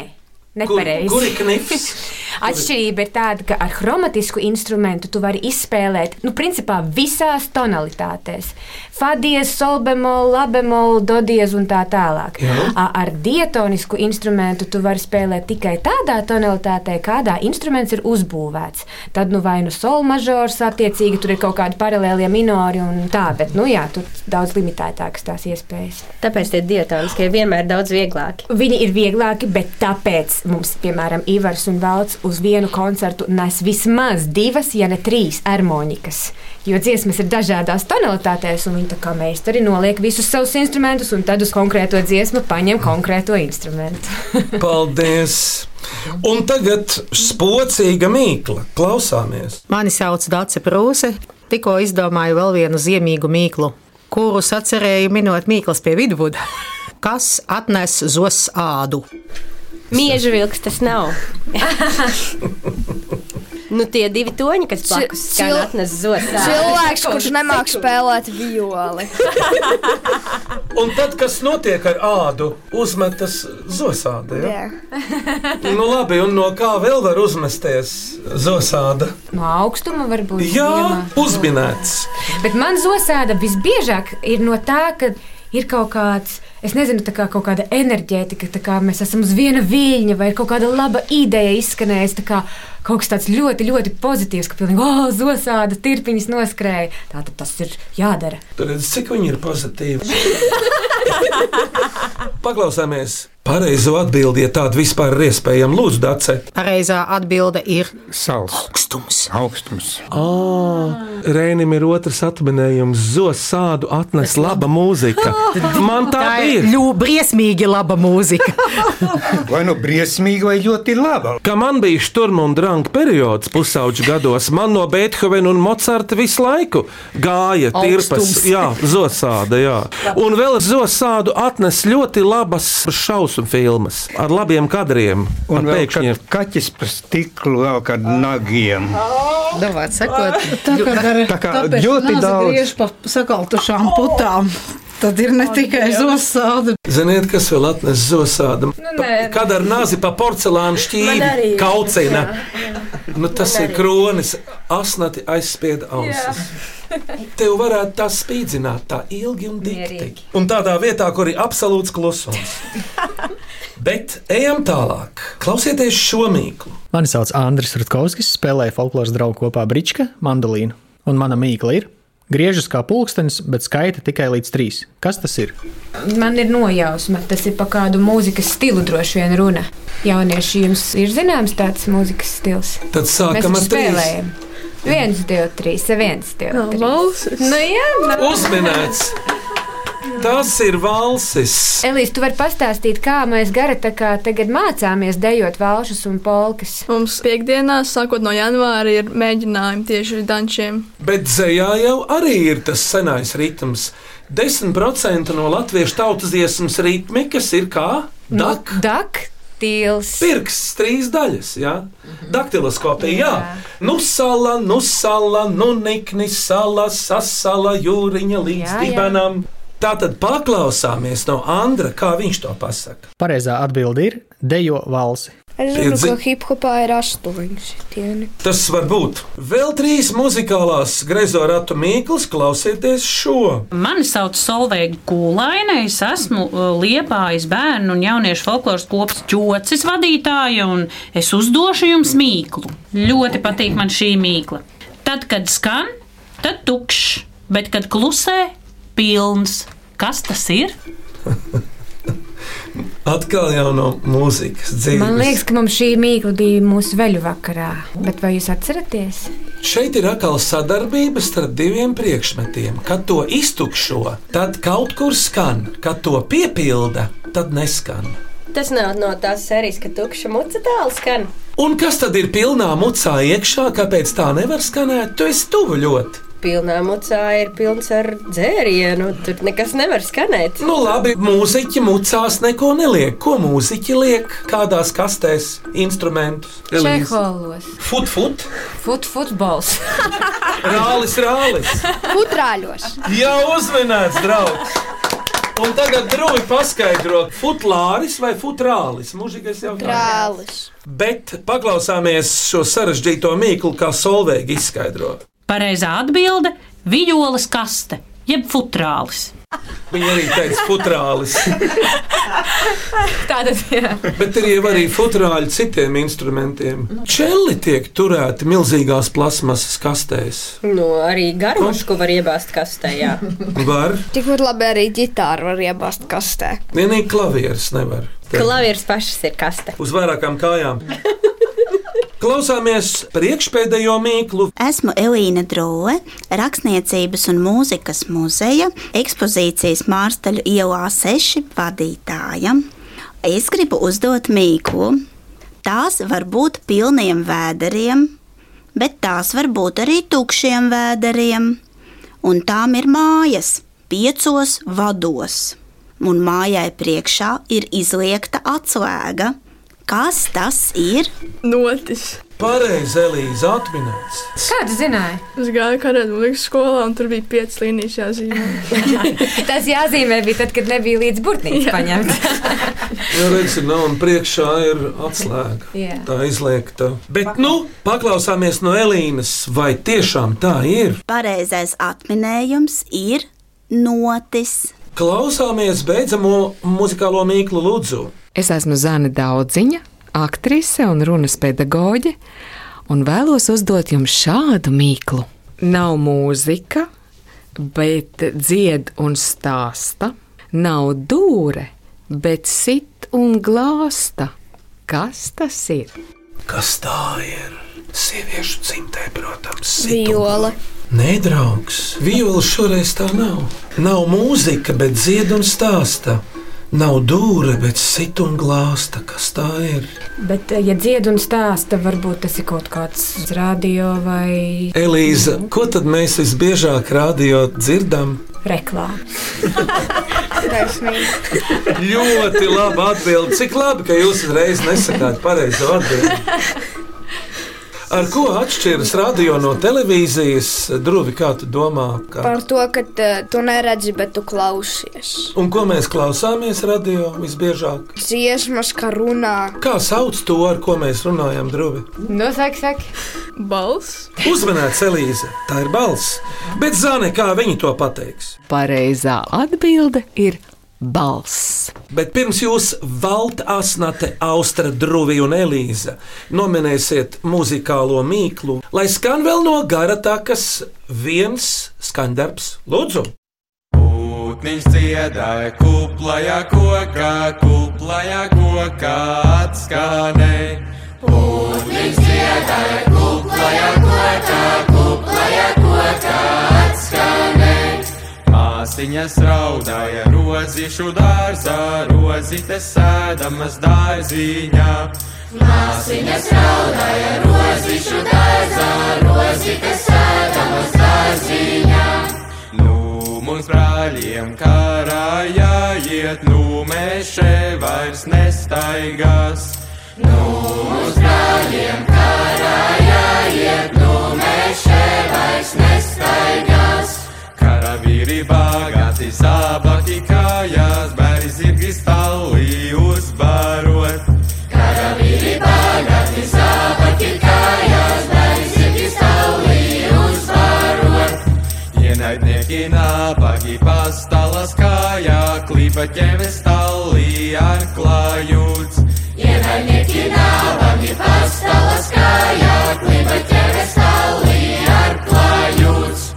Speaker 4: nepareizi.
Speaker 3: kur ir knips?
Speaker 4: Atšķirība ir tāda, ka ar chromatisku instrumentu tu vari izspēlēt, nu, principā visās tonalitātēs. Fadies, solbemol, labemol, dodies un tā tālāk.
Speaker 14: Jā.
Speaker 4: A- Ar diatonisku instrumentu tu vari spēlēt tikai tādā tonalitātē, kādā instruments ir uzbūvēts. Tad nu vai nu sol mažors, attiecīgi tur ir kaut kādi paralēlie minori un tā, bet, nu jā, tur daudz limitētākas tās iespējas.
Speaker 8: Tāpēc tie dietoniskie vienmēr daudz vieglāki.
Speaker 4: Viņi ir vieglāki, bet tāpēc mums, piemēram, Ivars un Valds uz vienu koncertu nes vismaz divas, ja ne trīs harmonikas. Jo dziesmas ir dažādās tonalitātēs, un viņi tā kā meistari noliek visus savus instrumentus, un tad uz konkrēto dziesmu paņem konkrēto instrumentu.
Speaker 3: Paldies! Un tagad spocīga mīkla. Klausāmies!
Speaker 15: Mani sauc Dārsa Prūse. Tikko izdomāju vēl vienu ziemīgu mīklu, kurus atcerēju minot mīklas pie vidvuda. Kas atnes zos ādu?
Speaker 8: Mieža vilks tas nav. Nu, tie divi toņi, kas blakus skan,
Speaker 5: cil-
Speaker 8: atnes zvaigznes.
Speaker 5: Cilvēks, kurš nemāks spēlēt violi.
Speaker 3: Un tad, kas notiek ar ādu, uzmetas zosāde. Ja? Nu, labi, un no kā vēl var uzmesties zosāda?
Speaker 4: No augstuma varbūt.
Speaker 3: Jā, uzminēts.
Speaker 4: Bet man zosēda visbiežāk ir no tā, ka ir kaut kāds. Es nezinu, tā kā kaut kāda enerģētika, tā kā mēs esam uz viena viļņa, vai ir kaut kāda laba ideja izskanējusi. tā kā Kaut kas tāds ļoti, ļoti pozitīvs, ka pilnīgi oh, zosāda tirpiņas noskrēja. Tā tad tas ir jādara.
Speaker 3: Tur redzat, cik viņi ir pozitīvi. Paklausāmies pareizo atbildi, ja tāda vispār ir iespējama. Lūdzu, Dace.
Speaker 16: Pareizā atbilde ir
Speaker 17: Sals.
Speaker 16: Augstums.
Speaker 17: Augstums.
Speaker 18: Rēnam ir otrs atminējums. Zosādu atnes laba mūzika. Man tā,
Speaker 16: Tā
Speaker 18: ir.
Speaker 16: ir ļoti briesmīgi laba mūzika.
Speaker 18: Vai nu briesmīga, vai ļoti laba. Kā man bija šturma un dranga periods pusauģu gados, man no Beethovena un Mocarta visu laiku gāja tirpas.
Speaker 17: Augstums.
Speaker 18: Jā, zosāda. Jā. Un vēl zosādu atnes ļoti labas šausmu filmas ar labiem kadriem.
Speaker 17: Un
Speaker 18: ar
Speaker 17: vēl
Speaker 18: pēkšņiem.
Speaker 17: kad kaķis pa stiklu, vēl kad nagiem.
Speaker 19: Davāt, sakot,
Speaker 17: Tagad ar- Tā kā tāpēc ļoti nāzi daudz. griež
Speaker 19: pa sakaltušām putām. Tad ir ne tikai zosāda.
Speaker 3: Ziniet, kas vēl atnes zosādu? Pa- Kad ar nāzi pa porcelāna
Speaker 19: Nu, Man arī, jā.
Speaker 3: šķīvi kaucina. Nu, tas
Speaker 19: Man
Speaker 3: ir
Speaker 19: arī.
Speaker 3: kronis, asnati aizspied ausis. Tev varētu tā spīdzināt, tā ilgi un dikti. Un tādā vietā, kur ir absolūts klusums. Bet ejam tālāk. Klausieties šo mīklu.
Speaker 9: Mani sauc Andris Rutkovskis, spēlēju folkloras draugu kopā Brička, mandolīnu. Un mana mīkla ir: griežas kā pulkstenis, bet skaita tikai līdz trīs. Kas tas ir?
Speaker 4: Man ir nojausma, tas ir par kādu mūzikas stilu droši vien runa. Jaunieši jums ir zināms tāds mūzikas stils.
Speaker 3: Tad sākam
Speaker 4: Mēs
Speaker 3: ar
Speaker 4: taču
Speaker 3: trīs.
Speaker 4: spēlējam. Viens, divi, trīs, viens, divi. trīs. Nu, jā, nu.
Speaker 3: Uzminēts! Tas ir valsis.
Speaker 4: Elīze, tu vari pastāstīt, kā mēs gara tā kā tagad mācāmies dejot valšus un polkas.
Speaker 7: Mums piekdienās, sākot no janvāra, ir mēģinājumi tieši ar dančiem.
Speaker 3: Bet dzējā jau arī ir tas senais ritms. 10% no latviešu tautas dziesmas ritmikas ir kā dak.
Speaker 4: Nu, dak.
Speaker 3: Pirksts trīs daļas, jā. Daktiloskopija, jā. jā. Nu, sala, nu, sala, nu, nikni, sala, sasala, jūriņa līdz
Speaker 9: Jā, jā.
Speaker 3: dibenam. Tātad paklausāmies no Andra, kā viņš to pasaka.
Speaker 9: Pareizā atbilde ir dejo valsi.
Speaker 5: Es zinu,
Speaker 3: Piedzi-
Speaker 5: ka hip-hopā ir astoņi sitieni.
Speaker 3: Tas var būt. Vēl trīs muzikālās grezo ratu mīklas, klausieties šo.
Speaker 20: Mani sauc Solveiga Kūlaine. Es esmu uh, liepājas bērnu un jauniešu folkloras kopas ķocis vadītāja, un es uzdošu jums mīklu. Ļoti patīk man šī mīkla. Tad, kad skan, tad tukšs, bet kad klusē, pilns. Kas tas ir?
Speaker 3: Atkal jau no mūzikas dzīves.
Speaker 4: Man liekas, ka mums šī mīkla bija mūsu veļu vakarā. Bet vai jūs atceraties?
Speaker 3: Šeit ir atkal sadarbība starp diviem priekšmetiem. Kad to iztukšo, tad kaut kur skan, kad to piepilda, tad neskan.
Speaker 8: Tas nav no tās sērijas, ka tukša muca tālu skan.
Speaker 3: Un kas tad ir pilnā mucā iekšā, kāpēc tā nevar skanēt? Tu esi tuvu ļoti.
Speaker 8: Pilnā mucā ir pilns ar dzērienu, tur nekas nevar skanēt.
Speaker 3: Nu, labi, mūziķi mucās neko neliek. Ko mūziķi liek? Kādās kastēs, instrumentus?
Speaker 4: Čeholos.
Speaker 3: Fut, fut,
Speaker 4: Fut, futbols.
Speaker 3: rālis, rālis.
Speaker 5: Putrāļos.
Speaker 3: Jā, uzmanīts, draugs. Un tagad drūmi paskaidro, futlāris vai futrālis. Mūžīgais jau
Speaker 5: Trālis.
Speaker 3: Bet paklausāmies šo sarežģīto mīklu, kā Solveiga izskaidro.
Speaker 20: Pareizā atbilde - vijoles kaste, jeb futrālis.
Speaker 3: Viņa arī teica, futrālis.
Speaker 4: Tātad, jā.
Speaker 3: Bet ir jau arī futrāļi citiem instrumentiem. Čeli tiek turēti milzīgās plasmasas kastēs.
Speaker 8: Nu, arī garmušu, ko var iebāzt kastē. jā.
Speaker 3: Var,
Speaker 5: Tikpat labi arī ģitāru var iebāzt kastē.
Speaker 3: vienīgi klavieres nevar.
Speaker 8: Klavieris pašas ir kaste.
Speaker 3: Uz vairākām kājām. Klausāmies priekšpēdējo mīklu.
Speaker 10: Esmu Elīna Drūle, rakstniecības un mūzikas muzeja ekspozīcijas Mārstaļu ielā 6 vadītāja. Es gribu uzdot mīklu. Tās var būt pilniem vēderiem, bet tās var būt arī tukšiem vēderiem. Un tām ir mājas, piecos vados. Un mājai priekšā ir izliekta atslēga. Kas tas ir?
Speaker 7: Notis.
Speaker 3: Pareizi, Elīze, atminēts.
Speaker 4: Kā tu zināji?
Speaker 7: Es gāju karēdzi mūzikas skolā, un tur bija piecas līnijas jāzīmē.
Speaker 4: Tas jāzīmē bija tad, kad nebija līdz burtnīcai paņemts.
Speaker 3: Jā, redz, ir Nu, nav un priekšā ir atslēga.
Speaker 4: Jā.
Speaker 3: Tā izliekta. Bet, nu, paklausāmies no Elīnas, vai tiešām tā ir?
Speaker 21: Pareizais atminējums ir notis.
Speaker 3: Klausāmies beidzamo muzikālo mīklu lūdzu.
Speaker 22: Es esmu Zana Daudziņa, aktrise un runas pedagoģe, un vēlos uzdot jums šādu mīklu. Nav mūzika, bet dzied un stāsta, nav dūre, bet sit un glāsta. Kas tas ir?
Speaker 3: Kas tā ir? Sieviešu cimtē, protams,
Speaker 11: Viola.
Speaker 3: Nē, draugs, viola šoreiz tā nav. Nav mūzika, bet dzied un stāsta. Nav dūre, bet sit un glāsta. Kas tā ir?
Speaker 4: Bet, eh, ja dzied un stāsta, varbūt tas ir kaut kāds radio vai
Speaker 3: Elīza, ko tad mēs visbiežāk radio dzirdam?
Speaker 4: reklāmas.
Speaker 11: Taisnība.
Speaker 3: Ļoti labi atbildēt. Cik labi, ka jūs uzreiz nesakāt pareizo atbildību. Ar ko atšķiras radio no televīzijas? Druvi, kā tu domā? Kā?
Speaker 11: Par to, ka eh, tu neredzi, bet tu klausies.
Speaker 3: Un ko mēs klausāmies radio visbiežāk?
Speaker 11: Dziesmas, kā runā.
Speaker 3: Kā sauc to, ar ko mēs runājam, Druvi?
Speaker 4: Nu, saka, saka.
Speaker 7: Balss.
Speaker 3: Uzmanīts, Elīze, tā ir balss. Bet zāle, kā viņi to pateiks?
Speaker 22: Pareizā atbilde ir balss.
Speaker 3: Bet pirms jūs valda asnate, austra drūvi un elīze, nominēsiet muzikālo mīklu, lai skan vēl no gara takas viens skandarbs. Lūdzu!
Speaker 23: Putniņš dziedāja kuplajā kokā, kuplajā kokā atskanēja. Putniņš dziedāja kuplajā kokā, kuplajā kokā atskanēja. Māsiņas raudāja rozīšu dārzā, rozītes sēdamas dārziņā.
Speaker 24: Māsiņas raudāja rozīšu dārzā, rozīte sēdamas dārziņā.
Speaker 23: Nu, mums brāļiem karā jāiet, nu mēs šeit vairs nestaigās. Nu,
Speaker 24: Mums brāļiem karā jāiet, nu mēs šeit vairs nestaigās.
Speaker 23: Karavīri bagāti zābaki kājās, bērni zirgi stāvī uzbarot.
Speaker 24: Karavīri bagāti zābaki kājās, bērni zirgi stāvī uzvarot.
Speaker 23: Ienaidnieki nabagi pastalas kājā, klipa ķemes stāvī ar klājūts.
Speaker 24: Ienaidnieki nabagi pastalas kājā, kliba ķeres stāvī ar klājūts.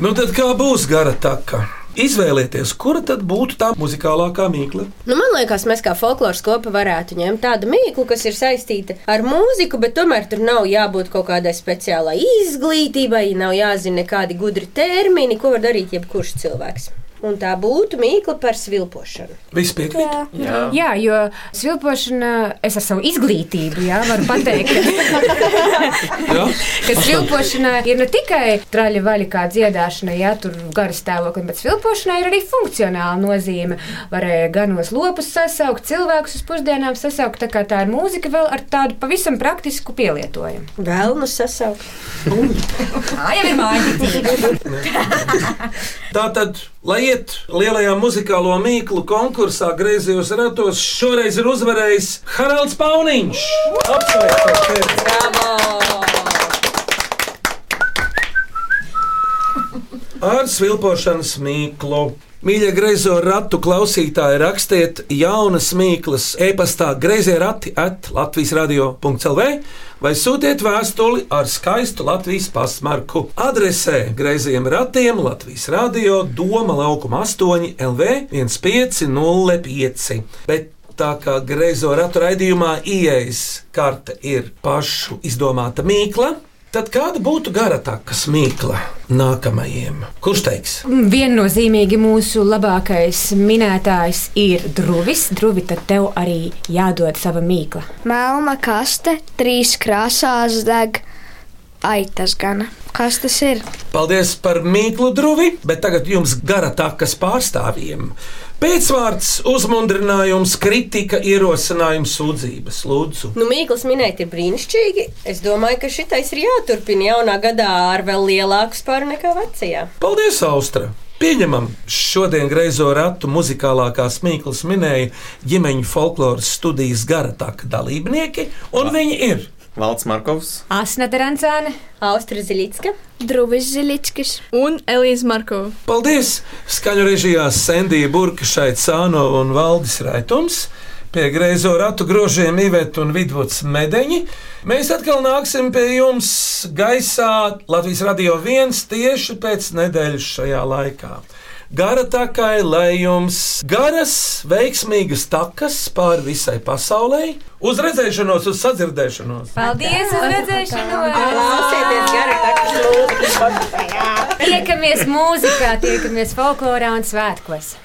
Speaker 3: Nu tad kā būs gara taka? Izvēlieties, kura tad būtu tā muzikālākā mīkla?
Speaker 8: Nu, man liekas, mēs kā folkloras kopa varētu ņemt tādu mīklu, kas ir saistīta ar mūziku, bet tomēr tur nav jābūt kaut kādai speciālai izglītībai, nav jāzina kādi gudri termini, ko var darīt jebkurš cilvēks. Un tā būtu mīkla par svilpošanu.
Speaker 3: Viss piekrīt.
Speaker 4: Jā. jā, jo svilpošana, es ar savu izglītību, jā, varu pateikt,
Speaker 3: Jā?
Speaker 4: ka svilpošana ir ne tikai traļa vaļa kā dziedāšana, jā, tur gara stāvokļa, bet svilpošanai ir arī funkcionāla nozīme. Varēja ganos lopus sasaukt, cilvēkus uz pusdienām sasaukt, tā kā tā ir mūzika vēl ar tādu pavisam praktisku pielietojumu.
Speaker 8: Vēl nu sasaukt.
Speaker 4: Tā jau ir māja.
Speaker 3: Tātad, lai iet lielajā muzikālo mīklu konkursā, griezījos ratos, šoreiz ir uzvarējis Haralds Pauniņš. Apsveicam! tevi! ar svilpošanas mīklu. Mīļie greizo ratu klausītāji, rakstiet jaunas mīklas, e-pastā grazē rati at Latvijas radio.clv vai sūtiet vēstuli ar skaistu Latvijas pasmarku. Adresē greiziem ratiem Latvijas radio Doma laukuma 8 LV 1505. Bet Tā kā greizo ratu raidījumā ieejas karte ir pašu izdomāta mīkla, tad kāda būtu gara takas mīkla nākamajiem? Kurš teiks?
Speaker 4: Viennozīmīgi mūsu labākais minētājs ir druvis. Druvi, tad tev arī jādod sava mīkla.
Speaker 11: Melna kaste, trīs krāsās deg. Ai, tas gan. Kas tas ir?
Speaker 3: Paldies par mīklu, Druvi, bet tagad jums gara takas pārstāvjiem. Pēcvārds, uzmundrinājums, kritika, ierosinājums, sūdzības. Lūdzu,
Speaker 8: Nu, Mīkls minēti ir brīnišķīgi. Es domāju, ka šitais ir jāturpina jaunā gadā ar vēl lielāku spāru nekā vecajā.
Speaker 3: paldies, Austra! Pieņemam, šodien greizo ratu muzikālākā smīklis minēja ģimeņu folkloras studijas gara taka dalībnieki, un viņi ir
Speaker 6: Valds Markovs,
Speaker 4: Asna Dārncāne,
Speaker 8: Austra Ziļicka,
Speaker 7: Druvis Ziļickis un Elīze Markova.
Speaker 3: Paldies! Skaņu režijā Sandija Burka, Šaita Sāno un Valdis Raitums. Pie greizo ratu grožiem Ivet un Vidvuds Medeņi. Mēs atkal nāksim pie jums gaisā Latvijas radio viens tieši pēc nedēļas šajā laikā. Gara takai, lai jums garas, veiksmīgas takas pāri visai pasaulē, uz redzēšanos, uz sadzirdēšanos!
Speaker 4: Paldies, uz redzēšanos!
Speaker 8: Klausieties, gari, tā kā
Speaker 4: Tiekamies mūzikā, tiekamies folklorā un svētkos!